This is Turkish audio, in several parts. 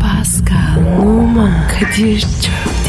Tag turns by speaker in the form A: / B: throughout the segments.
A: Pascal, Oman, Kadir çok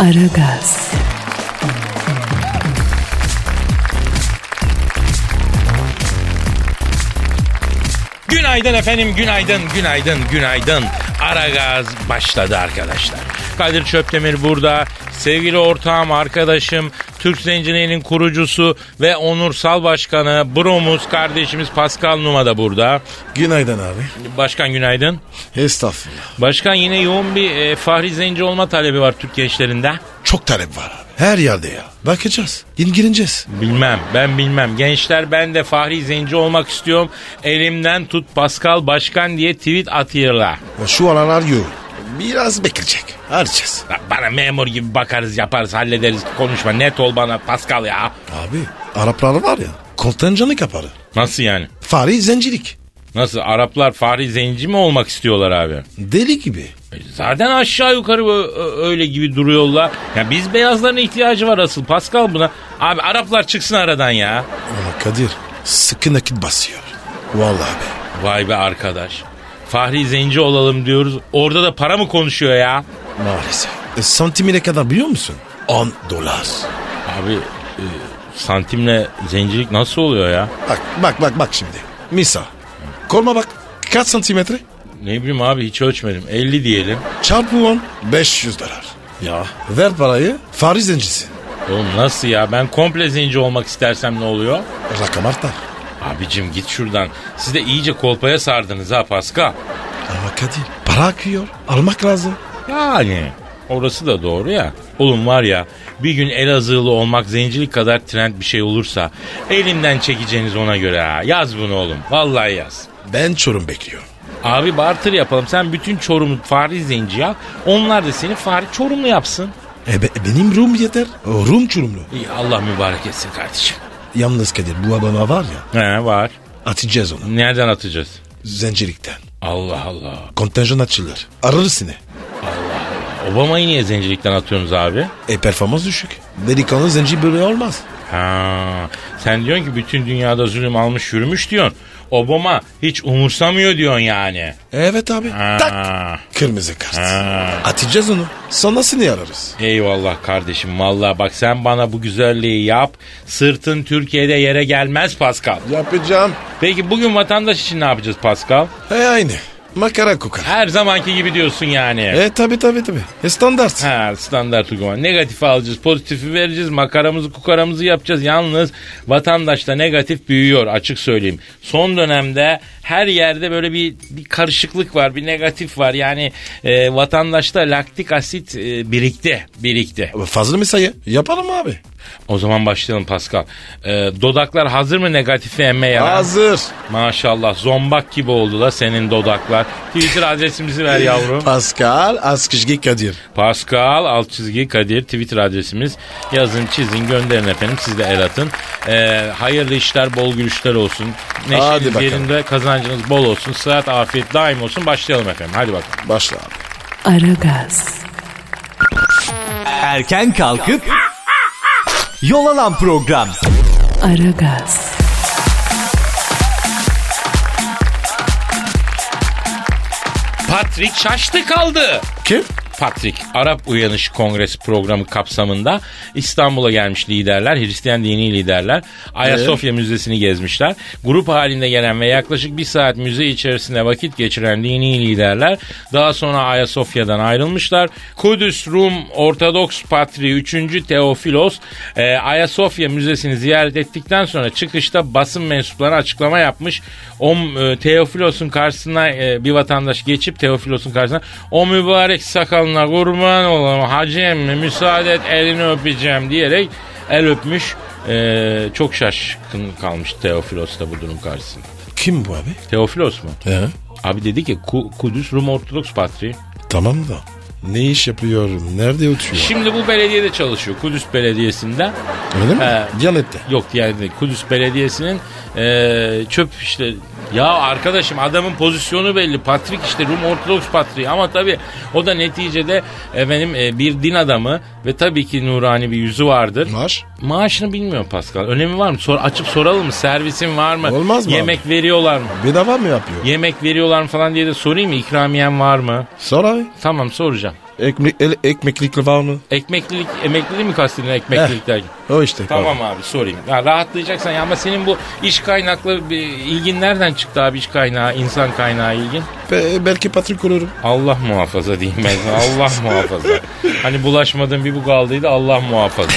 A: Aragaz,
B: Günaydın efendim, günaydın, günaydın, günaydın. Ara gaz başladı arkadaşlar. Kadir Çöptemir burada. Sevgili ortağım, arkadaşım, Türk Zenciliği'nin kurucusu ve onursal başkanı Bromuz kardeşimiz Pascal Numa da burada.
C: Günaydın abi.
B: Başkan günaydın.
C: Estağfurullah.
B: Başkan yine yoğun bir e, Fahri Zenci olma talebi var Türk gençlerinde.
C: Çok talep var abi. Her yerde ya. Bakacağız. İlgileneceğiz.
B: Bilmem ben bilmem. Gençler ben de Fahri Zenci olmak istiyorum. Elimden tut Pascal Başkan diye tweet atıyorlar.
C: O Şu aralar yoğun. Biraz bekleyecek. Arayacağız.
B: Ya Bana memur gibi bakarız yaparız hallederiz konuşma net ol bana Pascal ya.
C: Abi Araplar var ya. Kontenjanı kaparı.
B: Nasıl yani?
C: Fare zencilik.
B: Nasıl Araplar Fahri Zenci mi olmak istiyorlar abi?
C: Deli gibi.
B: E, Zaten aşağı yukarı ö- ö- öyle gibi duruyorlar. Ya biz beyazların ihtiyacı var asıl Pascal buna. Abi Araplar çıksın aradan ya.
C: Ama Kadir sıkı nakit basıyor. Vallahi abi.
B: Vay be arkadaş. Fahri Zenci olalım diyoruz. Orada da para mı konuşuyor ya?
C: Maalesef. E, santimine kadar biliyor musun? 10 dolar.
B: Abi e, santimle zencilik nasıl oluyor ya?
C: Bak bak bak bak şimdi. Misa. Kolma bak. Kaç santimetre?
B: Ne bileyim abi hiç ölçmedim. 50 diyelim.
C: Çarpı 10 500 dolar. Ya. Ver parayı. Fariz zencisi.
B: Oğlum nasıl ya? Ben komple zenci olmak istersem ne oluyor?
C: Rakam artar.
B: Abicim git şuradan. Siz de iyice kolpaya sardınız ha Pascal.
C: Ama Kadir para akıyor. Almak lazım.
B: Yani orası da doğru ya. Oğlum var ya bir gün Elazığlı olmak zencilik kadar trend bir şey olursa elimden çekeceğiniz ona göre ha. Yaz bunu oğlum. Vallahi yaz.
C: Ben çorum bekliyorum.
B: Abi barter yapalım. Sen bütün Çorum'u Fahri Zenci yap. Onlar da seni Fahri Çorumlu yapsın.
C: E be- benim Rum yeter. O Rum çorumlu.
B: İyi Allah mübarek etsin kardeşim.
C: Yalnız Kadir bu adama var ya
B: He var.
C: atacağız onu.
B: Nereden atacağız?
C: Zencilikten.
B: Allah Allah.
C: Kontenjan açılır. Ararız yine.
B: Obama'yı niye zencilikten atıyorsunuz abi?
C: E performans düşük. Delikanlı zenci böyle olmaz.
B: Ha, sen diyorsun ki bütün dünyada zulüm almış yürümüş diyorsun. Obama hiç umursamıyor diyorsun yani.
C: Evet abi.
B: Ha.
C: Tak. Kırmızı kart.
B: Ha.
C: Atacağız onu. Sonrasını ararız.
B: Eyvallah kardeşim valla bak sen bana bu güzelliği yap. Sırtın Türkiye'de yere gelmez Pascal.
C: Yapacağım.
B: Peki bugün vatandaş için ne yapacağız Pascal?
C: E aynı. Makara kokar.
B: Her zamanki gibi diyorsun yani.
C: E tabi tabi tabi. E standart.
B: Ha standart uygulama. Negatifi alacağız, pozitifi vereceğiz, makaramızı kukaramızı yapacağız. Yalnız vatandaşta negatif büyüyor açık söyleyeyim. Son dönemde her yerde böyle bir, bir karışıklık var, bir negatif var. Yani e, vatandaşta laktik asit e, birikti, birikti.
C: Fazla mı sayı? Yapalım abi.
B: O zaman başlayalım Pascal. E, dodaklar hazır mı negatifi emmeye?
C: Hazır.
B: Maşallah zombak gibi oldu da senin dodaklar. Twitter adresimizi ver yavrum.
C: Pascal Askışgi Kadir.
B: Pascal alt çizgi Kadir Twitter adresimiz. Yazın çizin gönderin efendim siz de el atın. Ee, hayırlı işler bol gülüşler olsun.
C: Hadi
B: Neşeniz
C: bakalım.
B: yerinde kazancınız bol olsun. Sıhhat afiyet daim olsun. Başlayalım efendim hadi bakalım.
C: Başla abi.
A: Aragaz,
D: Erken kalkıp yol alan program.
A: Aragaz,
B: Patrick şaştı kaldı.
C: Kim?
B: Patrick, Arap Uyanışı Kongresi programı kapsamında İstanbul'a gelmiş liderler, Hristiyan dini liderler Ayasofya Müzesi'ni gezmişler. Grup halinde gelen ve yaklaşık bir saat müze içerisinde vakit geçiren dini liderler daha sonra Ayasofya'dan ayrılmışlar. Kudüs Rum Ortodoks Patriği 3. Teofilos e, Ayasofya Müzesi'ni ziyaret ettikten sonra çıkışta basın mensupları açıklama yapmış. O e, Teofilos'un karşısına e, bir vatandaş geçip Teofilos'un karşısına o mübarek sakalına kurban olayım hacı emmi müsaade et elini öpeceğim diyerek Ee, el öpmüş. E, çok şaşkın kalmış Teofilos da bu durum karşısında.
C: Kim bu abi?
B: Teofilos mu?
C: He.
B: Abi dedi ki Ku- Kudüs Rum Ortodoks Patriği.
C: Tamam da ne iş yapıyor? Nerede oturuyor?
B: Şimdi bu belediyede çalışıyor. Kudüs Belediyesi'nde.
C: Öyle mi?
B: He.
C: Diyanette.
B: Yok yani Kudüs Belediyesi'nin eee, çöp işte ya arkadaşım adamın pozisyonu belli. Patrik işte Rum Ortodoks Patriği ama tabii o da neticede efendim e, bir din adamı ve tabii ki nurani bir yüzü vardır.
C: Maaş?
B: Maaşını bilmiyor Pascal. Önemi var mı? Sor, açıp soralım mı? Servisin var mı?
C: Olmaz mı
B: Yemek veriyorlar mı?
C: Bedava mı yapıyor?
B: Yemek veriyorlar mı falan diye de sorayım mı? İkramiyen var mı?
C: Sor abi.
B: Tamam soracağım.
C: Ekmek, el, ekmeklikli var mı?
B: Ekmeklilik, emekliliği mi kastediyorsun
C: Eh.
B: ekmeklilik derken?
C: O işte.
B: Tamam abi sorayım. Ya rahatlayacaksan ya ama senin bu iş kaynaklı bir ilgin nereden çıktı abi iş kaynağı, insan kaynağı ilgin?
C: Be- belki patrik olurum.
B: Allah muhafaza diyeyim ben sana. Allah muhafaza. Hani bulaşmadığın bir bu kaldıydı Allah muhafaza.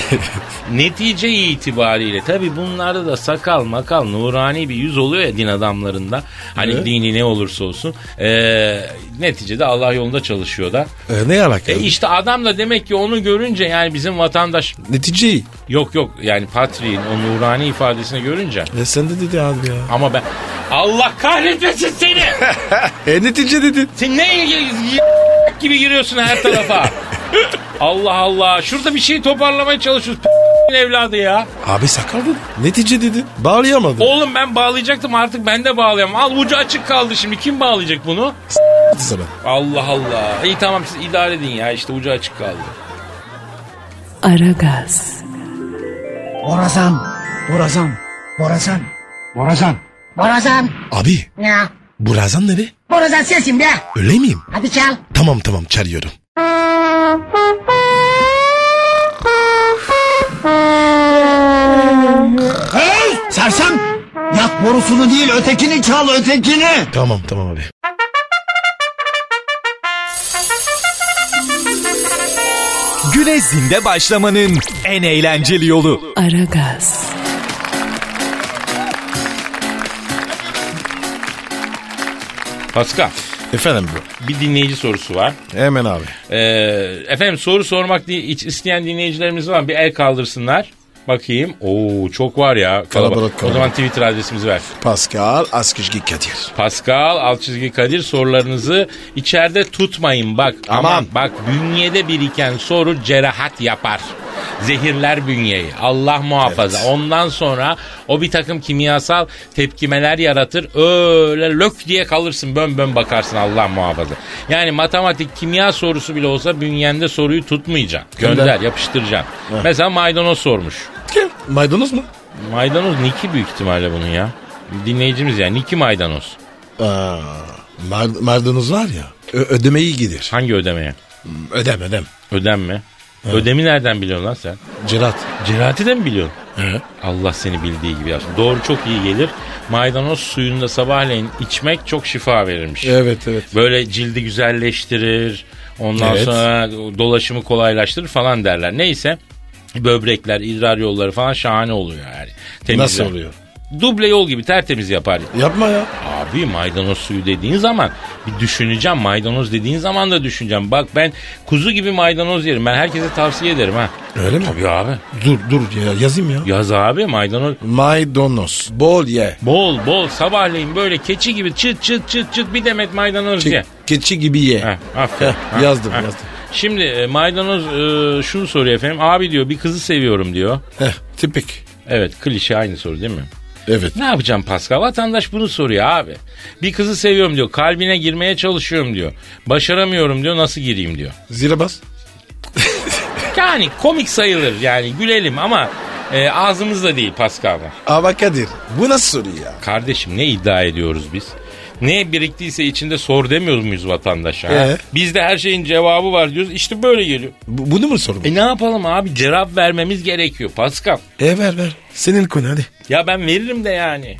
B: Netice itibariyle tabi bunlarda da sakal makal nurani bir yüz oluyor ya din adamlarında. Hani
C: Evet.
B: dini ne olursa olsun. Ee, neticede Allah yolunda çalışıyor da.
C: E, ne alaka?
B: E işte adam da demek ki onu görünce yani bizim vatandaş
C: Neticeyi.
B: Yok yok yani patriğin o nurani ifadesini görünce.
C: E, sen de dedi abi ya.
B: Ama ben Allah kahretmesin seni.
C: E netice dedin.
B: Sen ne ilgi- gibi giriyorsun her tarafa. Allah Allah. Şurada bir şey toparlamaya çalışıyoruz. evladı ya.
C: Abi sakal dedin. Netice dedin. Bağlayamadım.
B: Oğlum ben bağlayacaktım artık ben de bağlayamam. Al ucu açık kaldı şimdi. Kim bağlayacak bunu?
C: sana.
B: Allah Allah. İyi tamam siz idare edin ya işte ucu açık kaldı.
A: Aragaz,
E: Borazan. Borazan. Borazan. Borazan. Borazan.
C: Abi
E: Ya.
C: bu razan ne be?
E: Borazan sensin be.
C: Öyle miyim?
E: Hadi çal.
C: Tamam tamam çağırıyorum.
E: Hey sersem. Yak borusunu değil ötekini çal ötekini.
C: Tamam tamam abi.
D: Güne zinde başlamanın en eğlenceli yolu.
A: Aragaz,
B: Pascal
C: Efendim bu.
B: bir dinleyici sorusu var.
C: Hemen abi.
B: Ee, efendim soru sormak di- iç- isteyen dinleyicilerimiz var. Bir el kaldırsınlar. Bakayım. Oo çok var ya.
C: Kalabalık,
B: O
C: kalabalık.
B: zaman Twitter adresimizi ver.
C: Pascal Askışgi Kadir.
B: Pascal alt çizgi Kadir sorularınızı içeride tutmayın bak.
C: Aman.
B: Aman bak bünyede biriken soru cerahat yapar. Zehirler bünyeyi. Allah muhafaza.
C: Evet.
B: Ondan sonra o bir takım kimyasal tepkimeler yaratır. Öyle lök diye kalırsın. Bön bön bakarsın Allah muhafaza. Yani matematik kimya sorusu bile olsa bünyende soruyu tutmayacaksın. Gönder,
C: Gönder.
B: yapıştıracaksın. Mesela maydanoz sormuş.
C: Kim? Maydanoz mu?
B: Maydanoz Niki büyük ihtimalle bunun ya. Dinleyicimiz yani Niki maydanoz.
C: Aa, mar- maydanoz var ya. ö- ödemeyi gider.
B: Hangi ödemeye?
C: Ödem ödem.
B: Ödem mi? Ödemi nereden biliyorsun lan sen?
C: Cerat.
B: Cerahati de mi biliyorsun?
C: He.
B: Allah seni bildiği gibi yapsın. Doğru çok iyi gelir. Maydanoz suyunu da sabahleyin içmek çok şifa verirmiş.
C: Evet evet.
B: Böyle cildi güzelleştirir. Ondan
C: Evet.
B: sonra dolaşımı kolaylaştırır falan derler. Neyse böbrekler, idrar yolları falan şahane oluyor yani. Temizler.
C: Nasıl oluyor?
B: Duble yol gibi tertemiz yapar.
C: Yapma ya.
B: Abi maydanoz suyu dediğin zaman bir düşüneceğim. Maydanoz dediğin zaman da düşüneceğim. Bak ben kuzu gibi maydanoz yerim. Ben herkese tavsiye ederim ha.
C: Öyle mi?
B: Tabii abi.
C: Dur dur ya, yazayım ya.
B: Yaz abi maydanoz.
C: Maydanoz. Bol ye.
B: Bol bol sabahleyin böyle keçi gibi çıt çıt çıt çıt bir demet maydanoz ye.
C: Ke- keçi gibi ye.
B: Heh, aferin.
C: Heh,
B: Heh,
C: yazdım,
B: heh.
C: yazdım.
B: Şimdi e, maydanoz e, şunu soruyor efendim. Abi diyor bir kızı seviyorum diyor.
C: Heh, tipik.
B: Evet klişe aynı soru değil mi?
C: Evet.
B: Ne yapacağım Pascal? Vatandaş bunu soruyor abi. Bir kızı seviyorum diyor. Kalbine girmeye çalışıyorum diyor. Başaramıyorum diyor. Nasıl gireyim diyor.
C: Zile bas.
B: Yani komik sayılır yani gülelim ama e, ağzımızla değil Pascal'la.
C: Ama Kadir bu nasıl soru ya?
B: Kardeşim ne iddia ediyoruz biz? Ne biriktiyse içinde sor demiyor muyuz vatandaşa? ha?
C: Ee?
B: Bizde her şeyin cevabı var diyoruz. İşte böyle geliyor.
C: Bu- bunu mu sorun?
B: E ne yapalım abi? Cevap vermemiz gerekiyor Pascal.
C: E ver ver. Senin konu hadi.
B: Ya ben veririm de yani.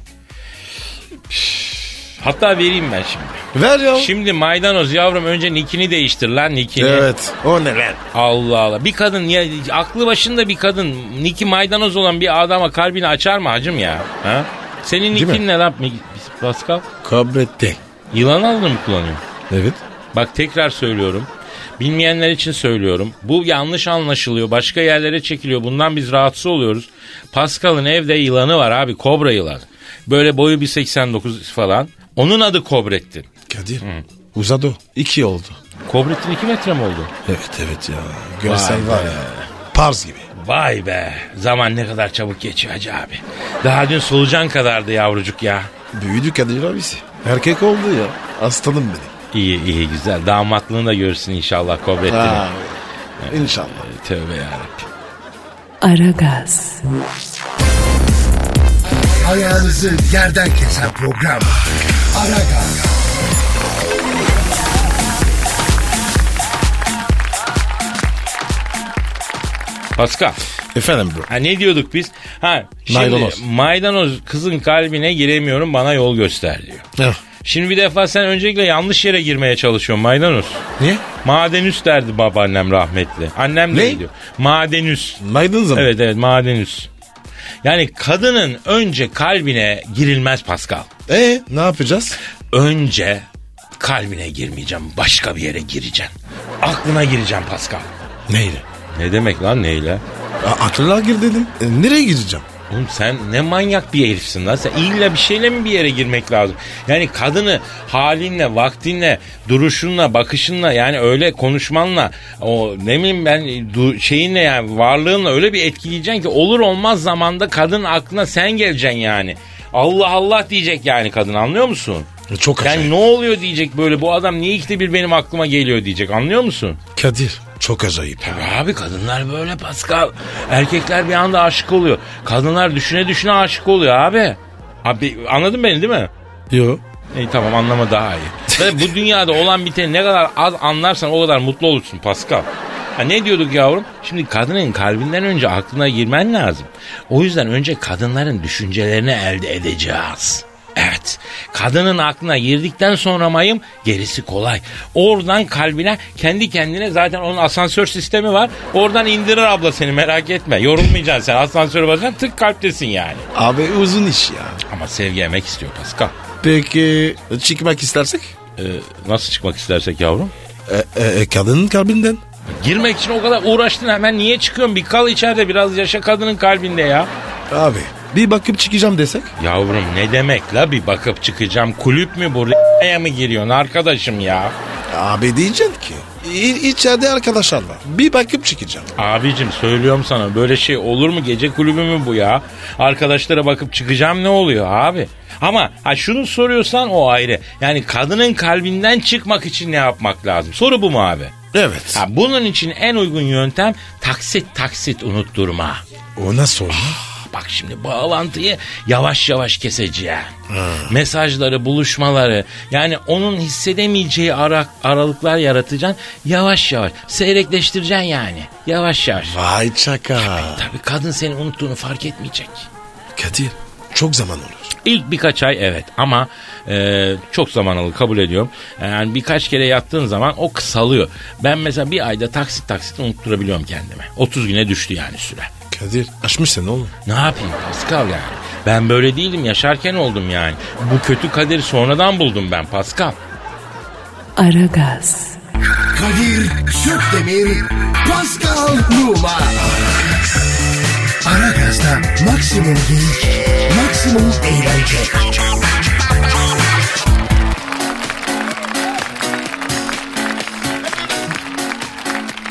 B: Hatta vereyim ben şimdi.
C: Ver ya.
B: Şimdi maydanoz yavrum önce nikini değiştir lan nikini.
C: Evet. O ne lan?
B: Allah Allah. Bir kadın ya aklı başında bir kadın niki maydanoz olan bir adama kalbini açar mı hacım ya? Ha? Senin
C: Değil mi?
B: nikin ne lan Mi- Pascal?
C: Kabrette.
B: Yılan ağzını mı kullanıyor?
C: Evet.
B: Bak tekrar söylüyorum. Bilmeyenler için söylüyorum. Bu yanlış anlaşılıyor. Başka yerlere çekiliyor. Bundan biz rahatsız oluyoruz. Pascal'ın evde yılanı var abi. Kobra yılanı. Böyle boyu bir 89 falan. Onun adı Kobrettin.
C: Kadir. Uzadı o. İki oldu.
B: Kobrettin 2 metre mi oldu?
C: Evet evet ya. Görsel var ya. Pars gibi.
B: Vay be. Zaman ne kadar çabuk geçiyor hacı abi. Daha dün solucan kadardı yavrucuk ya.
C: Büyüdü Kadir abisi. Erkek oldu ya. Aslanım benim.
B: İyi iyi güzel. Damatlığını da görsün inşallah Kobrettin'i.
C: Ha. İnşallah.
B: Tövbe yarabbim.
A: Aragaz,
F: Ayağınızı yerden kesen program. Aragaz.
B: Pascal.
C: Efendim bro.
B: Ha ne diyorduk biz? Ha şimdi
C: Maydanoz.
B: maydanoz kızın kalbine giremiyorum bana yol göster diyor. Şimdi bir defa sen öncelikle yanlış yere girmeye çalışıyorsun maydanoz.
C: Niye?
B: Madenüs derdi babaannem rahmetli. Annem de
C: Ne?
B: diyor. Madenüs.
C: Maydanoz mı?
B: Evet evet madenüs. Yani kadının önce kalbine girilmez Pascal.
C: E ne yapacağız?
B: Önce kalbine girmeyeceğim başka bir yere gireceğim. Aklına gireceğim Pascal.
C: Neyle?
B: Ne demek lan neyle?
C: A- aklına gir dedim. E, nereye gireceğim?
B: Oğlum sen ne manyak bir herifsin lan. Sen illa bir şeyle mi bir yere girmek lazım? Yani kadını halinle, vaktinle, duruşunla, bakışınla yani öyle konuşmanla o ne bileyim ben du- şeyinle yani varlığınla öyle bir etkileyeceksin ki olur olmaz zamanda kadın aklına sen geleceksin yani. Allah Allah diyecek yani kadın anlıyor musun?
C: E, Çok
B: Yani
C: acayip.
B: ne oluyor diyecek böyle bu adam niye ikide bir benim aklıma geliyor diyecek anlıyor musun?
C: Kadir. Çok acayip.
B: Tabii abi kadınlar böyle Pascal. Erkekler bir anda aşık oluyor. Kadınlar düşüne düşüne aşık oluyor abi. Abi anladın beni değil mi?
C: Yo.
B: İyi tamam anlama daha iyi. Ve bu dünyada olan biteni ne kadar az anlarsan o kadar mutlu olursun Pascal. Ha ne diyorduk yavrum? Şimdi kadının kalbinden önce aklına girmen lazım. O yüzden önce kadınların düşüncelerini elde edeceğiz. Evet. Kadının aklına girdikten sonra mayım gerisi kolay. Oradan kalbine kendi kendine zaten onun asansör sistemi var. Oradan indirir abla seni merak etme. Yorulmayacaksın sen. Asansöre basacaksın tık kalptesin yani.
C: Abi uzun iş ya.
B: Ama sevgi emek istiyor Pascal.
C: Peki çıkmak istersek?
B: Ee, nasıl çıkmak istersek yavrum?
C: E, e, e, kadının kalbinden.
B: Girmek için o kadar uğraştın hemen niye çıkıyorsun? Bir kal içeride biraz yaşa kadının kalbinde ya.
C: Abi bir bakıp çıkacağım desek.
B: Yavrum ne demek la bir bakıp çıkacağım. Kulüp mü bu? R***ye mi giriyorsun arkadaşım ya?
C: E, Abi diyeceksin ki "İ- içeride arkadaşlar var. Bir bakıp çıkacağım.
B: Abicim söylüyorum sana böyle şey olur mu? Gece kulübü mü bu ya? Arkadaşlara bakıp çıkacağım ne oluyor abi? Ama ha şunu soruyorsan o ayrı. Yani kadının kalbinden çıkmak için ne yapmak lazım? Soru bu mu abi?
C: Evet.
B: Ha, bunun için en uygun yöntem taksit taksit unutturma.
C: O nasıl oldu?
B: Bak şimdi bağlantıyı yavaş yavaş keseceğim. Mesajları, buluşmaları yani onun hissedemeyeceği ara- aralıklar yaratacaksın. Yavaş yavaş seyrekleştireceksin yani. Yavaş yavaş.
C: Vay çaka.
B: Tabii kadın seni unuttuğunu fark etmeyecek.
C: Kadir çok zaman olur.
B: İlk birkaç ay evet ama e, çok zaman alır kabul ediyorum. Yani birkaç kere yattığın zaman o kısalıyor. Ben mesela bir ayda taksit taksit unutturabiliyorum kendime. 30 güne düştü yani süre.
C: Kadir açmışsın oğlum.
B: Ne yapayım Pascal yani? Ben böyle değilim yaşarken oldum yani. Bu kötü kaderi sonradan buldum ben Pascal.
A: Aragaz,
F: Kadir Çöptemir, Pascal Numa. Aragaz'da maksimum geyik, maksimum eğlence.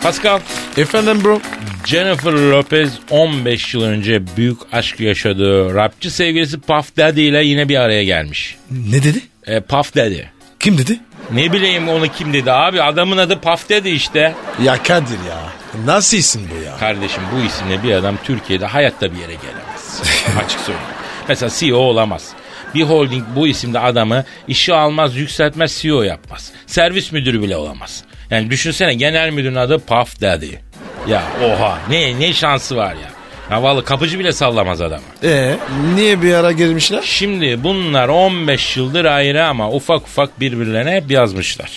B: Pascal,
C: Efendim bro.
B: Jennifer Lopez 15 yıl önce büyük aşk yaşadığı rapçi sevgilisi Puff Daddy ile yine bir araya gelmiş.
C: Ne dedi?
B: E, Puff Daddy.
C: Kim dedi?
B: Ne bileyim onu kim dedi abi adamın adı Puff Daddy işte.
C: Ya Kadir ya. Nasıl isim bu ya?
B: Kardeşim bu isimle bir adam Türkiye'de hayatta bir yere gelemez. Açık söyleyeyim. Mesela CEO olamaz. Bir holding bu isimde adamı işe almaz, yükseltmez, CEO yapmaz. Servis müdürü bile olamaz. Yani düşünsene genel müdürün adı Puff Daddy. Ya oha ne ne şansı var ya. Ya vallahi kapıcı bile sallamaz adamı.
C: Ee, niye bir ara girmişler?
B: Şimdi bunlar 15 yıldır ayrı ama ufak ufak birbirlerine hep yazmışlar.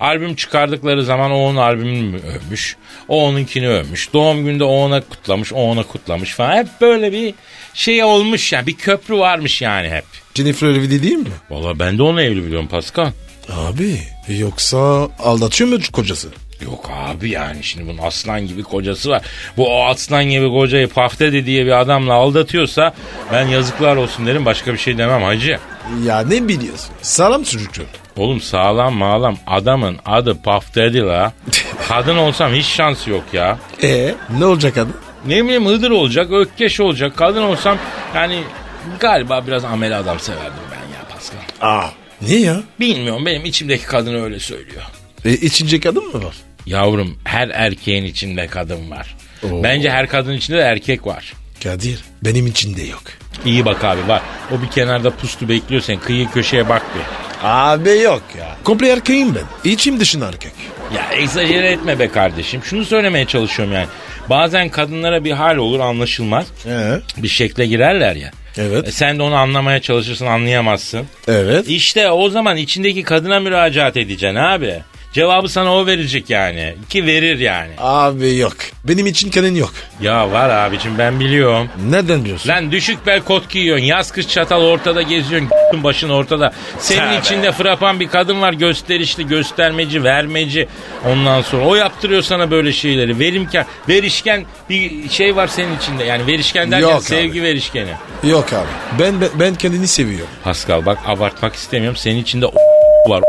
B: Albüm çıkardıkları zaman o onun albümünü övmüş, o onunkini övmüş. Doğum günde o ona kutlamış, o ona kutlamış falan. Hep böyle bir şey olmuş yani bir köprü varmış yani hep.
C: Jennifer Elvedi değil mi?
B: Valla ben de onunla evli biliyorum Pascal.
C: Abi yoksa aldatıyor mu kocası?
B: Yok abi yani şimdi bunun aslan gibi kocası var. Bu o aslan gibi kocayı paftede diye bir adamla aldatıyorsa ben yazıklar olsun derim başka bir şey demem hacı.
C: Ya ne biliyorsun? Sağlam çocuktu.
B: Oğlum sağlam mağlam adamın adı paftedi la. Kadın olsam hiç şans yok ya.
C: E ne olacak adı?
B: Ne bileyim Hıdır olacak, Ökkeş olacak. Kadın olsam yani galiba biraz ameli adam severdim ben ya Pascal.
C: Aa. Niye ya?
B: Bilmiyorum benim içimdeki kadın öyle söylüyor.
C: E, içince kadın mı var?
B: Yavrum her erkeğin içinde kadın var.
C: Oo.
B: Bence her kadın içinde de erkek var.
C: Kadir benim içinde yok.
B: İyi bak abi var. O bir kenarda pustu bekliyor sen. Kıyı köşeye bak bir.
C: Abi yok ya. Komple erkeğim ben. İçim dışın erkek.
B: Ya egzajere etme be kardeşim. Şunu söylemeye çalışıyorum yani. Bazen kadınlara bir hal olur anlaşılmaz.
C: Ee?
B: Bir şekle girerler ya.
C: Evet.
B: E sen de onu anlamaya çalışırsın anlayamazsın.
C: Evet.
B: İşte o zaman içindeki kadına müracaat edeceksin abi. Cevabı sana o verecek yani. Ki verir yani.
C: Abi yok. Benim için kadın yok.
B: Ya var abicim ben biliyorum.
C: Neden diyorsun?
B: Lan düşük bel kot giyiyorsun. Yaz kış çatal ortada geziyorsun. başın ortada. Senin
C: Tövbe.
B: içinde frapan bir kadın var. Gösterişli, göstermeci, vermeci. Ondan sonra o yaptırıyor sana böyle şeyleri. Verimken, verişken bir şey var senin içinde. Yani verişken derken
C: Yok abi.
B: sevgi verişkeni.
C: Yok abi. Ben, ben ben kendini seviyorum.
B: Pascal bak abartmak istemiyorum. Senin içinde var.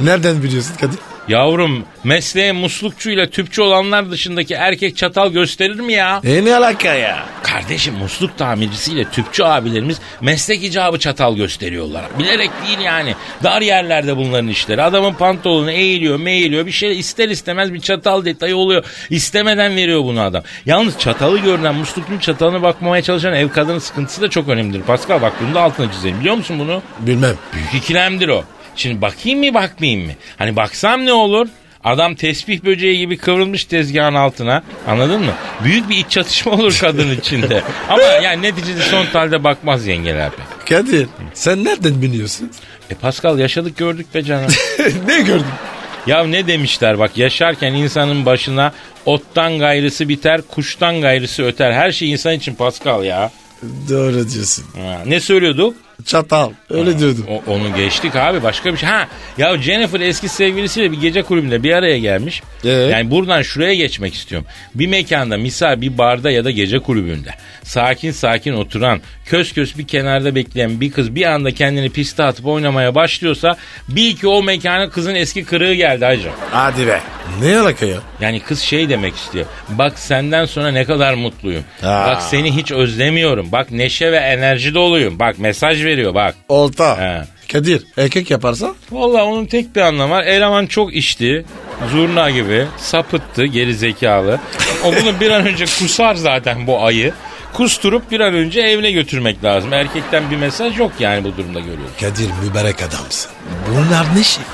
C: Nereden biliyorsun Kadir?
B: Yavrum mesleğe muslukçu ile tüpçü olanlar dışındaki erkek çatal gösterir mi ya?
C: E ne alaka ya?
B: Kardeşim musluk tamircisiyle tüpçü abilerimiz meslek icabı çatal gösteriyorlar. Bilerek değil yani. Dar yerlerde bunların işleri. Adamın pantolonu eğiliyor meğiliyor bir şey ister istemez bir çatal detayı oluyor. İstemeden veriyor bunu adam. Yalnız çatalı görünen musluktun çatalına bakmamaya çalışan ev kadının sıkıntısı da çok önemlidir. Pascal bak bunu da altına çizelim biliyor musun bunu?
C: Bilmem.
B: Büyük ikilemdir o. Şimdi bakayım mı bakmayayım mı? Hani baksam ne olur? Adam tesbih böceği gibi kıvrılmış tezgahın altına. Anladın mı? Büyük bir iç çatışma olur kadın içinde. Ama yani neticede son talde bakmaz yengeler be.
C: Kadir sen nereden biliyorsun?
B: E Pascal yaşadık gördük be canım.
C: ne gördün?
B: ya ne demişler bak yaşarken insanın başına ottan gayrısı biter, kuştan gayrısı öter. Her şey insan için Pascal ya.
C: Doğru diyorsun.
B: Ha, ne söylüyorduk?
C: Çatal. Öyle diyordum.
B: O- onu geçtik abi başka bir şey. Ha ya Jennifer eski sevgilisiyle bir gece kulübünde bir araya gelmiş.
C: Ee?
B: Yani buradan şuraya geçmek istiyorum. Bir mekanda misal bir barda ya da gece kulübünde sakin sakin oturan kös kös bir kenarda bekleyen bir kız bir anda kendini piste atıp oynamaya başlıyorsa bil ki o mekana kızın eski kırığı geldi hacı.
C: Hadi be. Ne alaka ya?
B: Yani kız şey demek istiyor. Bak senden sonra ne kadar mutluyum.
C: Aa.
B: Bak seni hiç özlemiyorum. Bak neşe ve enerji doluyum. Bak mesaj veriyor bak.
C: Olta.
B: He.
C: Kadir erkek yaparsa?
B: Vallahi onun tek bir anlamı var. Eleman çok içti. Zurna gibi sapıttı geri zekalı. O bunu bir an önce kusar zaten bu ayı. Kusturup bir an önce evine götürmek lazım. Erkekten bir mesaj yok yani bu durumda görüyoruz.
C: Kadir mübarek adamsın. Bunlar ne şey?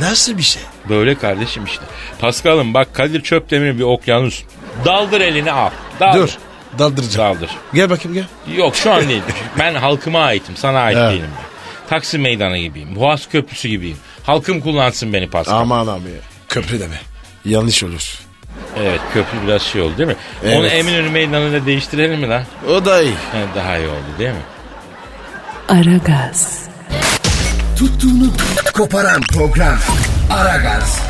C: Nasıl bir şey?
B: Böyle kardeşim işte. Paskal'ım bak Kadir Çöpdemir bir okyanus. Daldır elini al. Daldır.
C: Dur. Daldıracağım.
B: Daldır.
C: Gel bakayım gel.
B: Yok şu an değil. Ben halkıma aitim. Sana ait
C: Evet.
B: değilim ben. Taksim Meydanı gibiyim. Boğaz Köprüsü gibiyim. Halkım kullansın beni Paskal.
C: Aman abi. Köprü deme. Yanlış olur.
B: Evet köprü biraz şey oldu değil mi?
C: Evet.
B: Onu Eminönü Meydanı'nda değiştirelim mi lan?
C: O da iyi.
B: He, Daha iyi oldu değil mi?
A: Aragaz,
F: Tuttuğunu koparan program. Aragaz.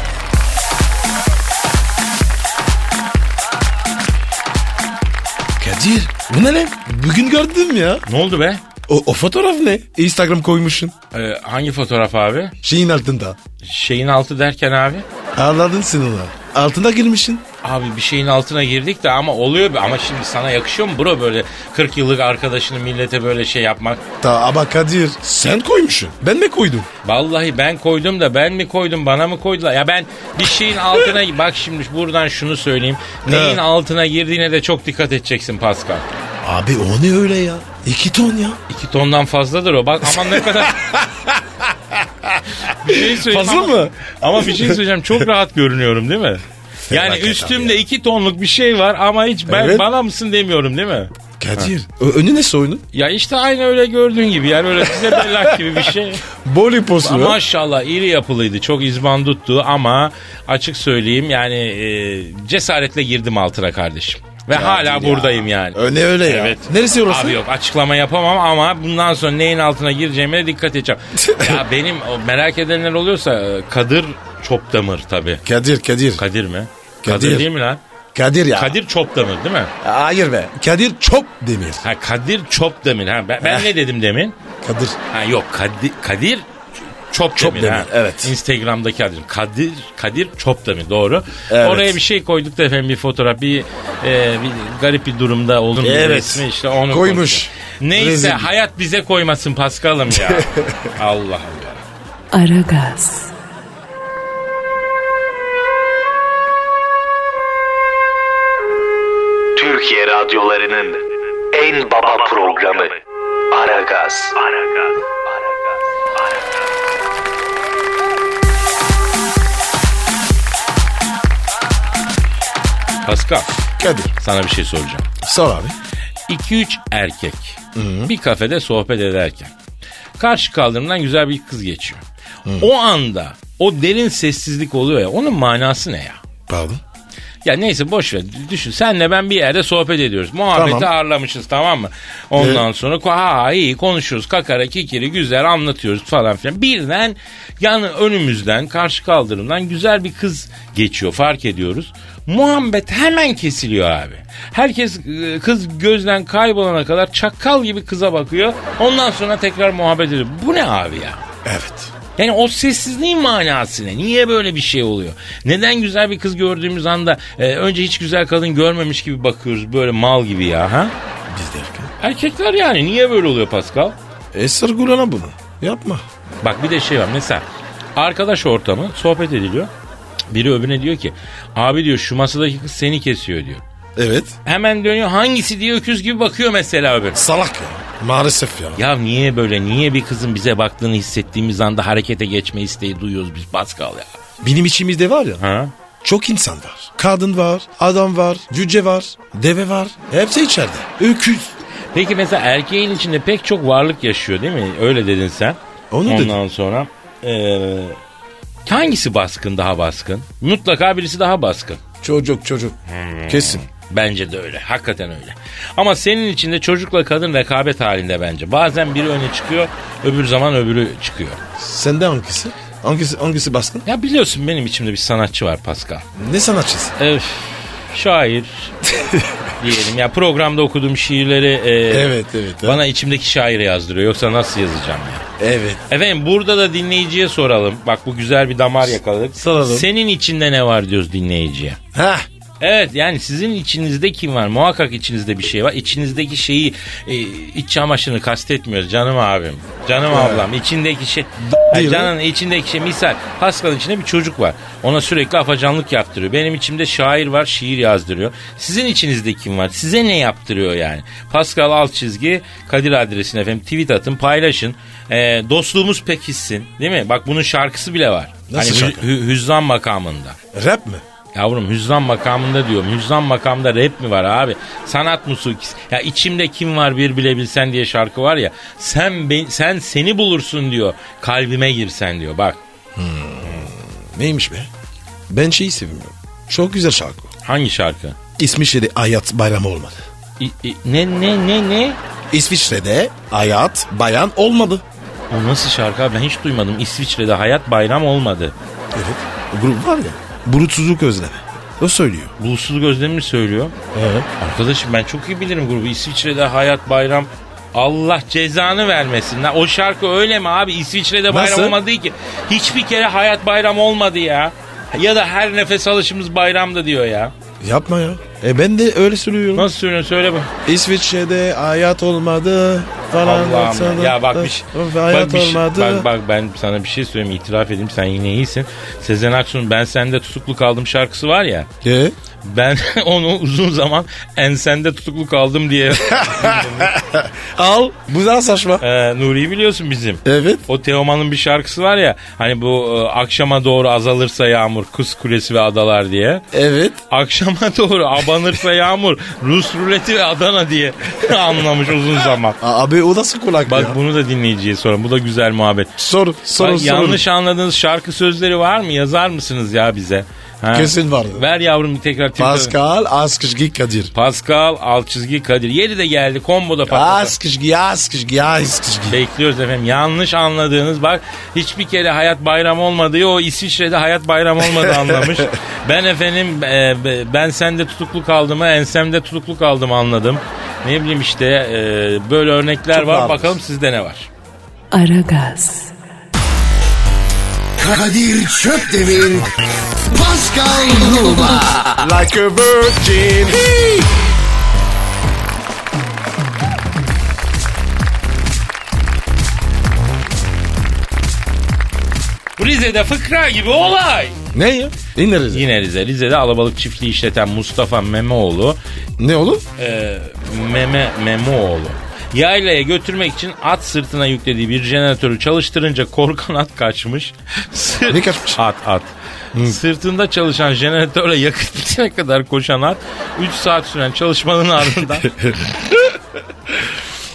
C: Kadir bu ne lan? Bugün gördüm ya.
B: Ne oldu be?
C: O, o fotoğraf ne? Instagram koymuşsun.
B: Ee, hangi fotoğraf abi?
C: Şeyin altında.
B: Şeyin altı derken abi?
C: Ağladın sen ona. Altına girmişsin.
B: Abi bir şeyin altına girdik de ama oluyor be. Ama şimdi sana yakışıyor mu bro böyle 40 yıllık arkadaşını millete böyle şey yapmak?
C: Ta ama Kadir sen koymuşsun. Ben mi koydum?
B: Vallahi ben koydum da ben mi koydum bana mı koydular? Ya ben bir şeyin altına... Bak şimdi buradan şunu söyleyeyim. Neyin
C: He.
B: altına girdiğine de çok dikkat edeceksin Pascal.
C: Abi o ne öyle ya? İki ton ya.
B: İki tondan fazladır o. Bak aman ne kadar... bir şey söyleyeyim
C: Fazla
B: ama-
C: mı?
B: Ama bir şey söyleyeceğim çok rahat görünüyorum değil mi? Yani
C: Felaket
B: üstümde iki tonluk bir şey var ama hiç ben
C: Evet.
B: bana mısın demiyorum değil mi?
C: Kadir ö- önü ne soyunun?
B: Ya işte aynı öyle gördüğün gibi yani öyle size bellak gibi bir şey.
C: Boli postu.
B: Ama maşallah iri yapılıydı çok izbanduttu ama açık söyleyeyim yani e, cesaretle girdim altına kardeşim. Ve hala buradayım yani.
C: Ö ne öyle ya?
B: Evet.
C: Neresi orası?
B: Abi yok açıklama yapamam ama bundan sonra neyin altına gireceğime de dikkat edeceğim. ya benim o merak edenler oluyorsa e, Kadir Çopdamır tabii.
C: Kadir Kadir.
B: Kadir mi?
C: Kadir.
B: Kadir değil mi lan?
C: Kadir ya.
B: Kadir Çopdamır değil mi?
C: Hayır be. Kadir Çop Demir.
B: Ha Kadir Çopdemir. Ha ben, ben ne dedim demin?
C: Kadir.
B: Ha yok Kadir, Kadir Çop
C: Çopdemir,
B: ha.
C: evet.
B: Instagram'daki adım. Kadir Kadir Çopdemir doğru.
C: Evet.
B: Oraya bir şey koyduk da efendim bir fotoğraf bir, e, bir garip bir durumda olduğum bir
C: Evet.
B: resmi işte onu
C: Koymuş.
B: konuştuk. Neyse
C: Rezil.
B: hayat bize koymasın Paskal'ım ya. Allah Allah.
A: Aragaz,
G: Türkiye radyolarının en baba programı Aragaz.
B: Paskal
C: Kadir.
B: sana bir şey soracağım.
C: Sor abi.
B: 2-3 erkek bir kafede sohbet ederken karşı kaldırımdan güzel bir kız geçiyor. O anda o derin sessizlik oluyor ya onun manası ne ya?
C: Pardon.
B: Ya neyse boş ver. Düşün senle ben bir yerde sohbet ediyoruz. Muhabbeti
C: Tamam.
B: ağırlamışız tamam mı? Ondan sonra ko- ha iyi konuşuyoruz. Kakara kikiri güzel anlatıyoruz falan filan. Birden yani önümüzden karşı kaldırımdan güzel bir kız geçiyor fark ediyoruz. Muhabbet hemen kesiliyor abi. Herkes e, kız gözden kaybolana kadar çakal gibi kıza bakıyor. Ondan sonra tekrar muhabbet ediyor. Bu ne abi ya?
C: Evet.
B: Yani o sessizliğin manası ne? Niye böyle bir şey oluyor? Neden güzel bir kız gördüğümüz anda e, önce hiç güzel kadın görmemiş gibi bakıyoruz böyle mal gibi ya ha?
C: Biz de erken.
B: Erkekler yani niye böyle oluyor Pascal?
C: E sırgulana bunu. Yapma.
B: Bak bir de şey var mesela arkadaş ortamı sohbet ediliyor. Biri öbürüne diyor ki abi diyor şu masadaki kız seni kesiyor diyor.
C: Evet.
B: Hemen dönüyor hangisi diye öküz gibi bakıyor mesela öbür.
C: Salak ya. Maalesef ya.
B: Ya niye böyle niye bir kızın bize baktığını hissettiğimiz anda harekete geçme isteği duyuyoruz biz Pascal ya?
C: Benim içimizde var ya.
B: Ha?
C: Çok insan var. Kadın var. Adam var. Cüce var. Deve var. Hepsi içeride. Öküz.
B: Peki mesela erkeğin içinde pek çok varlık yaşıyor değil mi? Öyle dedin sen.
C: Onu
B: Ondan
C: dedim.
B: sonra eee, hangisi baskın daha baskın? Mutlaka birisi daha baskın.
C: Çocuk çocuk. Kesin.
B: Bence de öyle. Hakikaten öyle. Ama senin içinde çocukla kadın rekabet halinde bence. Bazen biri öne çıkıyor, öbür zaman öbürü çıkıyor.
C: Sende hangisi? Hangisi hangisi baskın?
B: Ya biliyorsun benim içimde bir sanatçı var Pascal.
C: Ne sanatçısı?
B: Öf, şair diyelim. Ya programda okuduğum şiirleri eee,
C: Evet, evet, ha.
B: bana içimdeki şairi yazdırıyor. Yoksa nasıl yazacağım ya?
C: Evet.
B: Efendim burada da dinleyiciye soralım. Bak bu güzel bir damar yakaladık.
C: Soralım.
B: Senin içinde ne var diyoruz dinleyiciye.
C: Ha.
B: Evet yani sizin içinizde kim var? Muhakkak içinizde bir şey var. İçinizdeki şeyi e, iç çamaşırını kastetmiyoruz canım abim. Canım ablam içindeki şey.
C: Değil
B: Ay,
C: mi?
B: canın içindeki şey misal Pascal'ın içinde bir çocuk var. Ona sürekli afacanlık yaptırıyor. Benim içimde şair var şiir yazdırıyor. Sizin içinizde kim var? Size ne yaptırıyor yani? Pascal alt çizgi Kadir adresine efendim tweet atın paylaşın. E, dostluğumuz pekişsin değil mi? Bak bunun şarkısı bile var.
C: Nasıl
B: hani
C: şarkı?
B: hü- hü- hüzzam makamında.
C: Rap mi?
B: Yavrum hüzzam makamında diyorum. Hüzzam makamda rap mi var abi? Sanat musikisi. Ya içimde kim var bir bilebilsen diye şarkı var ya. Sen ben, sen seni bulursun diyor. Kalbime girsen diyor. Bak
C: Neymiş be? Ben şeyi sevmiyorum. Çok güzel şarkı.
B: hangi şarkı?
C: İsviçre'de hayat bayramı olmadı.
B: İ- i- ne ne ne ne?
C: İsviçre'de hayat bayan olmadı.
B: O nasıl şarkı abi? Ben hiç duymadım. İsviçre'de hayat bayram olmadı.
C: Evet. Grup var ya. Brutsuzluk özlemi. O söylüyor.
B: Bulutsuz gözlemi mi söylüyor?
C: Evet.
B: Arkadaşım ben çok iyi bilirim grubu. İsviçre'de hayat bayram Allah cezanı vermesin. Lan O şarkı öyle mi abi? İsviçre'de bayram
C: Nasıl?
B: olmadı ki. Hiçbir kere hayat bayram olmadı ya. Ya da her nefes alışımız bayramdı diyor ya.
C: Yapma ya. E ben de öyle söylüyorum.
B: Nasıl söylüyorsun söyle bak.
C: İsviçre'de hayat olmadı falan.
B: Allah'ım ya. ya bak bir, şey-
C: Of, Hayat
B: bak, bir şey-
C: olmadı.
B: bak, bak ben sana bir şey söyleyeyim itiraf edeyim sen yine iyisin. Sezen Aksu'nun Ben Sende Tutuklu Kaldım şarkısı var ya.
C: E?
B: Ben onu uzun zaman ensende tutuklu kaldım diye.
C: Al. Bu daha saçma.
B: ee, Nuri'yi biliyorsun bizim.
C: Evet.
B: O Teoman'ın bir şarkısı var ya hani bu e, akşama doğru azalırsa yağmur Kız Kulesi ve Adalar diye.
C: Evet.
B: Akşama doğru abanırsa yağmur Rus ruleti ve Adana diye anlamış uzun zaman.
C: A- Abi o nasıl kulak
B: Bak
C: ya?
B: bunu da dinleyiciye sorun. Bu da güzel muhabbet.
C: Sor. Sor.
B: Bak,
C: sor.
B: yanlış anladığınız şarkı sözleri var mı? Yazar mısınız ya bize? Ha.
C: Kesin vardı.
B: Ver yavrum bir tekrar Twitter.
C: Pascal Askışgi Kadir.
B: Pascal alt çizgi Kadir. Yeri de geldi komboda patladı.
C: Askışgi Askışgi Askışgi.
B: Bekliyoruz efendim. Yanlış anladığınız bak hiçbir kere hayat bayram olmadığı o İsviçre'de hayat bayram olmadı anlamış. ben efendim e, be- ben sende tutuklu kaldım ensemde tutuklu kaldım anladım. Ne bileyim işte e, böyle örnekler
C: Çok
B: var.
C: varmış.
B: Bakalım sizde ne var?
A: Aragaz,
F: Kadir Çöpdemir. Pascal Numa.
C: Like a virgin.
B: Rize'de fıkra gibi olay.
C: Ne ya? İneriz.
B: Yine Rize. Rize'de alabalık çiftliği işleten Mustafa Memoğlu
C: Ne olur?
B: e, Meme Memoğlu. Yaylaya götürmek için at sırtına yüklediği bir jeneratörü çalıştırınca korkan at kaçmış. Sırt-
C: Ne kaçmış?
B: At at. Sırtında çalışan jeneratörle yakıt bitene kadar koşan at 3 saat süren çalışmanın ardından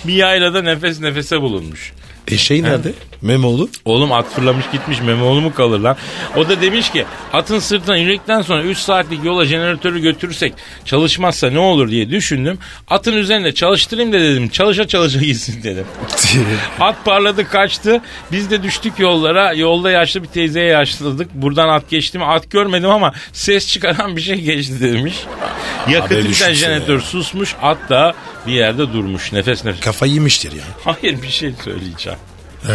B: bir yaylada nefes nefese bulunmuş.
C: E şey nerede? Memoğlu.
B: Oğlum at fırlamış gitmiş Memoğlu mu kalır lan? O da demiş ki atın sırtına yürekten sonra 3 saatlik yola jeneratörü götürürsek çalışmazsa ne olur diye düşündüm. Atın üzerinde çalıştırayım da dedim çalışa çalışa gitsin dedim. At parladı kaçtı biz de düştük yollara yolda yaşlı bir teyzeye yaşladık. Buradan at geçti mi at görmedim ama ses çıkaran bir şey geçti demiş.
C: Haberi
B: Yakıt biten
C: düşmüş
B: jeneratör susmuş at da bir yerde durmuş nefes nefes.
C: Kafayı yemiştir ya.
B: Hayır bir şey söyleyeceğim.
C: He.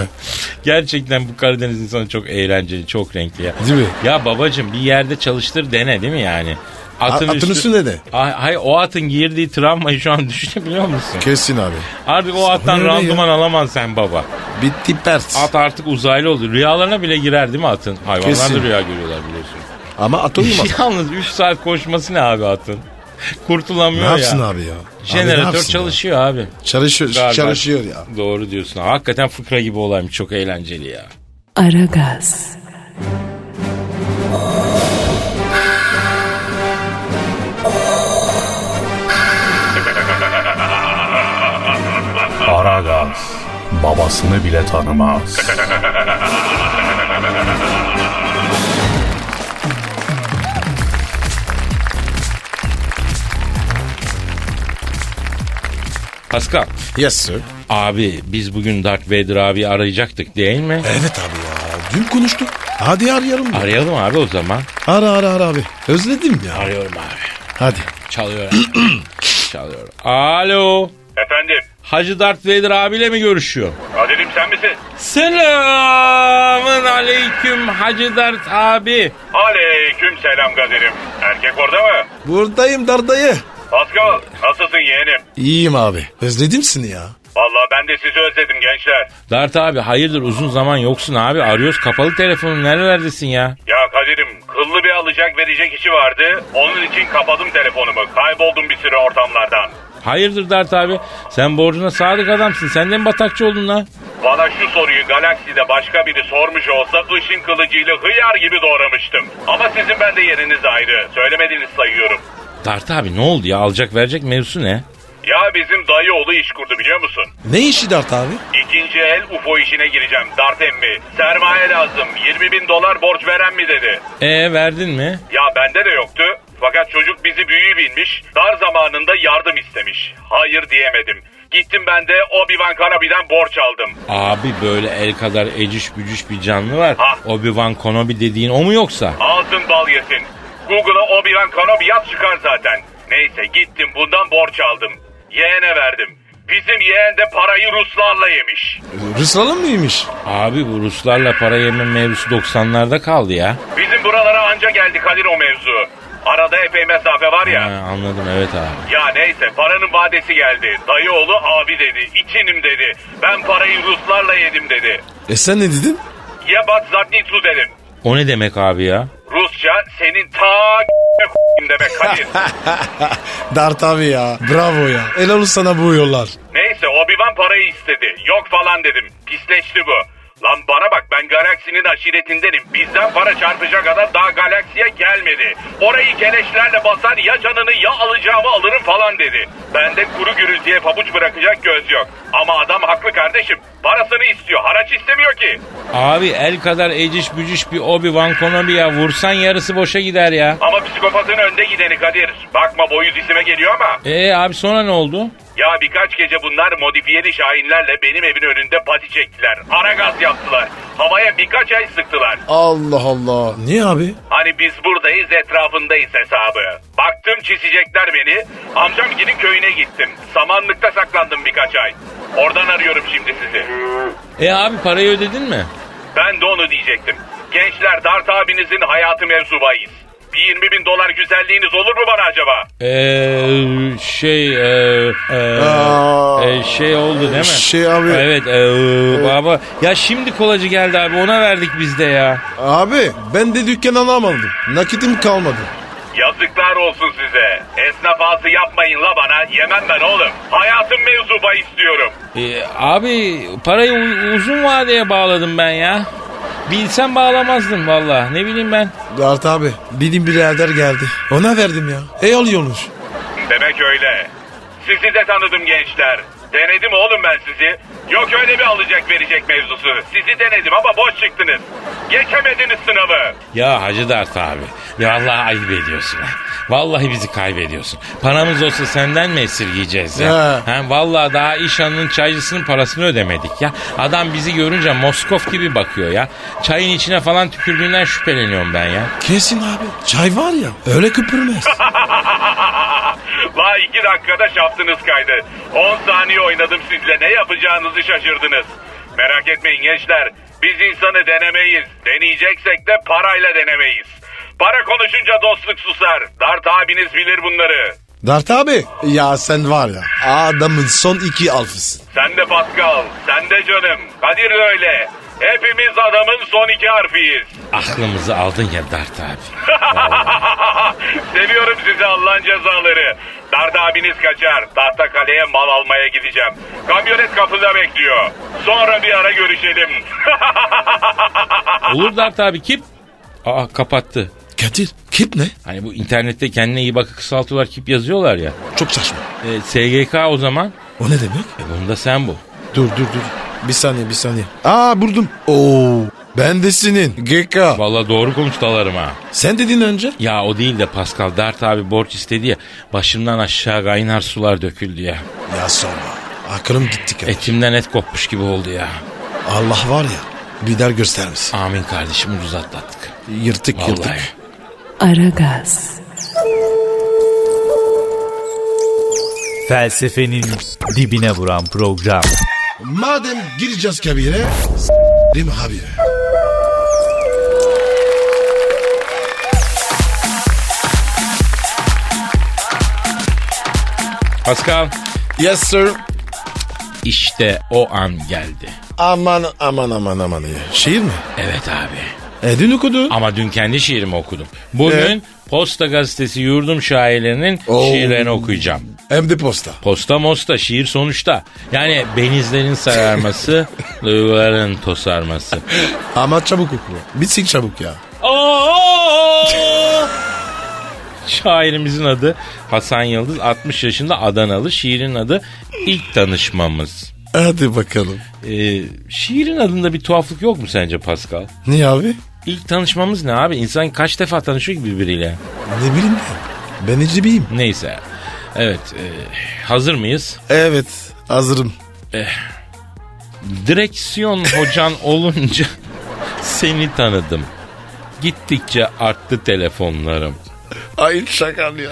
B: Gerçekten bu Karadeniz insanı çok eğlenceli, çok renkli ya.
C: Değil mi?
B: Ya babacım bir yerde çalıştır dene değil mi yani?
C: A- atın üstünde de.
B: Ay, hayır, o atın girdiği travmayı şu an düşünebiliyor musun?
C: Kesin abi.
B: Artık o attan
C: öyle ya.
B: randıman alamaz sen baba.
C: Bitti pers.
B: At artık uzaylı oldu. Rüyalarına bile girer değil mi atın? Hayvanlar da
C: Kesin.
B: rüya görüyorlar biliyorsun.
C: Ama at olmaz.
B: Yalnız 3 saat koşması ne abi atın?
C: ne
B: Kurtulamıyor ya.
C: yapsın abi ya? Abi ne
B: Jeneratör
C: yapsın
B: çalışıyor abi.
C: ya? Çalışıyor,
B: Galiba.
C: çalışıyor ya.
B: Doğru diyorsun. Hakikaten fıkra gibi olaymış. Çok eğlenceli ya.
A: Aragaz,
H: Aragaz babasını bile tanımaz.
B: Pascal.
C: Yes sir.
B: Abi biz bugün Darth Vader abi arayacaktık değil mi?
C: Evet abi ya. Dün konuştuk. Hadi arayalım. ya.
B: Arayalım abi o zaman.
C: Ara ara ara abi. Özledim ya.
B: Arıyorum abi.
C: Hadi.
B: Çalıyor abi. Çalıyor. Alo.
H: Efendim,
B: Hacı Darth Vader abiyle mi görüşüyor?
H: Kadir'im sen misin?
B: Selamın aleyküm Hacı Darth abi.
H: Aleyküm selam Kadir'im. Erkek orada mı?
C: Buradayım dardayı.
H: Pascal, nasılsın yeğenim?
C: İyiyim abi. Özledim seni ya.
H: Vallahi ben de sizi özledim gençler.
B: Dart abi hayırdır uzun zaman yoksun abi arıyoruz kapalı telefonun nerelerdesin ya?
H: Ya Kadir'im, kıllı bir alacak verecek işi vardı. Onun için kapadım telefonumu. Kayboldum bir süre ortamlardan.
B: Hayırdır Dart abi sen borcuna sadık adamsın senden mi batakçı oldun lan?
H: Bana şu soruyu galakside başka biri sormuş olsa ışın kılıcıyla hıyar gibi doğramıştım. Ama sizin bende yeriniz ayrı. Söylemediğiniz sayıyorum.
B: Dart abi ne oldu ya alacak verecek mevzusu ne?
H: Ya bizim dayı oğlu iş kurdu biliyor musun?
C: Ne işi dart abi?
H: İkinci el UFO işine gireceğim. Dart emmi. Sermaye lazım. 20 bin dolar borç veren mi dedi.
B: E verdin mi?
H: Ya bende de yoktu. Fakat çocuk bizi büyüğü bilmiş. Dar zamanında yardım istemiş. Hayır diyemedim. Gittim ben de Obi-Wan Kenobi'den borç aldım.
B: Abi böyle el kadar eciş bücüş bir canlı var.
H: Ha.
B: Obi-Wan Kenobi dediğin o mu yoksa?
H: Ağzın bal yesin. Google'a Obi-Wan Kenobi yaz çıkar zaten. Neyse gittim bundan borç aldım. Yeğene verdim. Bizim yeğen de parayı Ruslarla yemiş.
C: Rıslalı mıymış?
B: Abi bu Ruslarla para yeme mevzusu 90'larda kaldı ya.
H: Bizim buralara anca geldi Kadir o mevzu. Arada epey mesafe var ya.
B: Ha, anladım evet abi.
H: Ya neyse paranın vadesi geldi. Dayı oğlu abi dedi. İçinim dedi. Ben parayı Ruslarla yedim dedi.
C: E sen ne dedin?
H: Ya bak zadnitu dedim.
B: O ne demek abi ya?
H: Rusça senin ta demek Kadir.
C: Dart abi ya. Bravo ya. Helal olsun sana bu yollar.
H: Neyse Obi-Wan parayı istedi. Yok falan dedim. Pisleşti bu. Lan bana bak ben galaksinin aşiretindenim. Bizden para çarpacak adam daha galaksiye gelmedi. Orayı keleşlerle basar ya canını ya alacağımı alırım falan dedi. Bende kuru gürültüye pabuç bırakacak göz yok. Ama adam haklı kardeşim. Parasını istiyor. Haraç istemiyor ki.
B: Abi el kadar eciş bücüş bir Obi-Wan Kenobi'ye vursan yarısı boşa gider ya.
H: Ama psikopatın önde gideni Kadir. Bakma boyuz isime geliyor ama.
B: E abi sonra ne oldu?
H: Ya birkaç gece bunlar modifiyeli şahinlerle benim evin önünde pati çektiler. Ara gaz yaptılar. Havaya birkaç el sıktılar.
F: Allah Allah.
C: Niye abi?
H: Hani biz buradayız etrafındayız hesabı. Baktım çizecekler beni. Amcamgilin köyüne gittim. Samanlıkta saklandım birkaç ay. Oradan arıyorum şimdi sizi.
B: E abi parayı ödedin mi?
H: Ben de onu diyecektim. Gençler Dart abinizin hayatı mevzubayız. Bir 20 bin dolar güzelliğiniz olur mu bana acaba?
B: Eee E, şey eee
F: Aa.
B: şey oldu değil mi?
F: Şey abi.
B: Evet eee, baba. Ya şimdi kolacı geldi abi ona verdik biz de ya.
C: Abi ben de dükkan alamadım. Nakitim kalmadı.
H: Yazıklar olsun size. Esnaf ağası yapmayın la bana. Yemem ben oğlum. Hayatım mevzubayız diyorum.
B: E, abi parayı u- uzun vadeye bağladım ben ya. Bilsem bağlamazdım valla ne bileyim ben.
C: Dart abi benim birader geldi. Ona verdim ya. E alıyormuş.
H: Demek öyle. Sizi de tanıdım gençler. Denedim oğlum ben sizi. Yok öyle bir alacak verecek mevzusu. Sizi denedim ama boş çıktınız. Geçemediniz sınavı.
B: Ya Hacı Dert abi ya vallahi ayıp ediyorsun. ha. Vallahi bizi kaybediyorsun. Paramız olsa senden mi esirgeyeceğiz ya?
C: Ya.
B: Ha, vallahi daha iş hanının çaycısının parasını ödemedik ya. Adam bizi görünce Moskov gibi bakıyor ya. Çayın içine falan tükürdüğünden şüpheleniyorum ben ya.
C: Kesin abi. Çay var ya öyle köpürmez.
H: La iki dakikada şaftınız kaydı. 10 saniye oynadım sizle ne yapacağınızı şaşırdınız. Merak etmeyin gençler. Biz insanı denemeyiz. Deneyeceksek de parayla denemeyiz. Para konuşunca dostluk susar. Dart abiniz bilir bunları.
C: Dart abi.
F: Ya sen var ya adamın son iki alfısın.
H: Sen de Pascal, sen de canım. Kadir de öyle. Hepimiz adamın son iki harfiyiz.
B: Aklımızı aldın ya Dert abi.
H: Seviyorum sizi Allah'ın cezaları. Darda abiniz kaçar. Tahta kaleye mal almaya gideceğim. Kamyonet kapıda bekliyor. Sonra bir ara görüşelim.
B: Olur Dert abi kim? Aa kapattı.
C: Kadir kip ne?
B: Hani bu internette kendine iyi bakı kısaltıyorlar kip yazıyorlar ya.
C: Çok saçma.
B: E, SGK o zaman.
C: O ne demek?
B: E, bunu da sen bu.
C: Dur dur dur. Bir saniye bir saniye. Aa buldum. Oo. Ben de senin. GK.
B: Vallahi doğru konuş dalarım ha.
C: Sen dedin önce.
B: Ya o değil de Pascal Dert abi borç istedi ya. Başımdan aşağı kaynar sular döküldü ya.
C: Ya sorma. Aklım gitti Kadir.
B: Etimden et kopmuş gibi oldu ya.
C: Allah var ya. Bir der göstermesin.
B: Amin kardeşim ucuz atlattık.
C: Yırtık
B: Vallahi.
C: yırtık.
A: Aragaz.
D: Felsefenin dibine vuran program.
C: Madem gireceğiz kabire. Değil mi abi?
B: Pascal
C: Yes sir.
B: işte o an geldi.
C: Aman aman aman aman. Şiir mi?
B: Evet abi.
C: E dün okudun.
B: Ama dün kendi şiirimi okudum. Bugün
C: Evet.
B: Posta Gazetesi yurdum şairlerinin
C: Oo.
B: şiirlerini okuyacağım.
C: Hem de posta.
B: Posta mosta şiir sonuçta. Yani benizlerin sararması, duyguların tosarması.
C: Ama çabuk oku. Bitsin çabuk ya.
B: Aa! Şairimizin adı Hasan Yıldız 60 yaşında Adanalı. Şiirin adı İlk Tanışmamız.
C: Hadi bakalım.
B: Ee, şiirin adında bir tuhaflık yok mu sence Pascal?
C: Niye abi?
B: İlk tanışmamız ne abi? İnsan kaç defa tanışıyor ki birbiriyle?
C: Ne bileyim ben. Ben ecibiyim.
B: Neyse. Evet. e, hazır mıyız?
C: Evet hazırım.
B: Direksiyon hocan olunca seni tanıdım. Gittikçe arttı telefonlarım.
C: Ay şakam ya.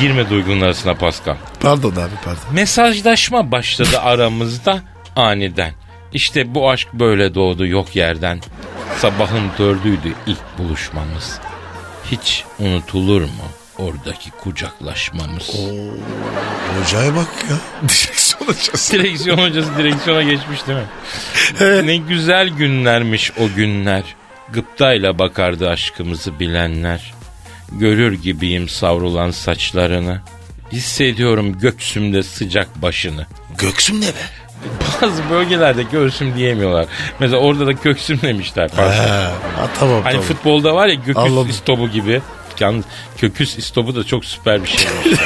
B: Girme duygunun arasına Pascal.
C: Pardon abi pardon.
B: Mesajlaşma başladı aramızda aniden. İşte bu aşk böyle doğdu yok yerden. Sabahın dördüydü ilk buluşmamız. Hiç unutulur mu oradaki kucaklaşmamız?
C: Hocaya bak ya. Direksiyon hocası.
B: Direksiyon hocası direksiyona geçmiş değil mi? ne güzel günlermiş o günler. Gıptayla bakardı aşkımızı bilenler. Görür gibiyim savrulan saçlarını. Hissediyorum göksümde sıcak başını.
C: Göksüm ne be?
B: Bazı bölgelerde göğsüm diyemiyorlar. Mesela orada da köksüm demişler. Pardon.
F: He, ha, tamam
B: Hani
F: tamam.
B: futbolda var ya göküs
F: Anladım.
B: istobu gibi. Yalnız köküs istobu da çok süper bir şey şeymiş.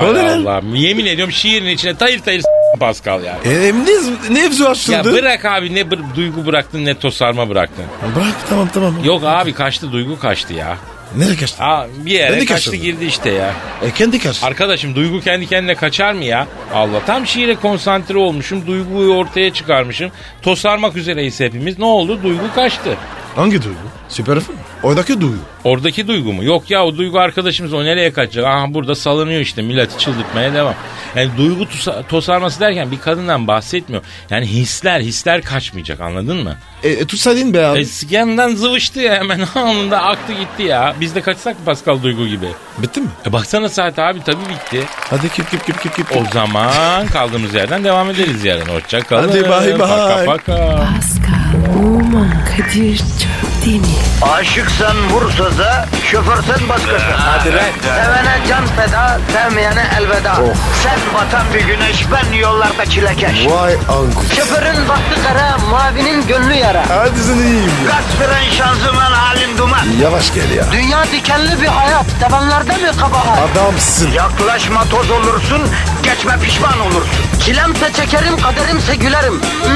B: Allah Allah'ım. Yemin ediyorum şiirin içine tayır tayır s- Pascal yani.
F: E, ne, nevzu
B: Ya
F: açıldı?
B: bırak abi ne bır- duygu bıraktın ne tosarma bıraktın.
F: Bırak tamam tamam.
B: Yok abi kaçtı duygu kaçtı ya.
F: Nereye kaçtı?
B: Aa, bir
F: Ben
B: yere
F: de
B: kaçtı
F: kaçırdım.
B: girdi işte ya.
F: E, kendi kaçtı.
B: Arkadaşım duygu kendi kendine kaçar mı ya? Allah tam şiire konsantre olmuşum. Duyguyu ortaya çıkarmışım. Tosarmak üzereyiz hepimiz. Ne oldu? Duygu kaçtı.
F: Hangi duygu? Süper F mi? Oradaki duygu.
B: Oradaki duygu mu? Yok ya o duygu arkadaşımız o nereye kaçacak? Aha burada salınıyor işte milleti çıldırtmaya devam. Yani duygu tusa- tosarması derken bir kadından bahsetmiyor. Yani hisler hisler kaçmayacak anladın mı?
F: E, e tutsaydın be abi.
B: Eskiden zıvıştı ya hemen anında aktı gitti ya. Biz de kaçsak mı Pascal Duygu gibi?
F: Bitti mi?
B: E baksana saat abi tabii bitti.
F: Hadi kip kip kip kip kip.
B: O zaman kaldığımız yerden devam ederiz yarın. Hoşça kalın.
F: Hadi bay bay.
B: Paka paka.
A: Pascal, Oman, Kadir çok değil mi?
I: Aşıksan vursa da, şoförsen başkasın. Hadi Sevene can feda, sevmeyene elveda. Sen batan bir güneş, ben yollarda çilekeş.
F: Vay anku.
I: Şoförün baktı kara, mavinin gönlü yara.
F: Hadi sen iyiyim ya.
I: Kasperen şanzıman halin duman.
F: Yavaş gel ya.
I: Dünya dikenli bir hayat, sevenlerde mi kabahar?
F: Adamsın.
I: Yaklaşma toz olursun, geçme pişman olursun. Çilemse çekerim, kaderimse gülerim.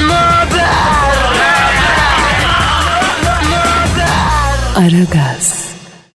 I: Möber!
A: Aragaz.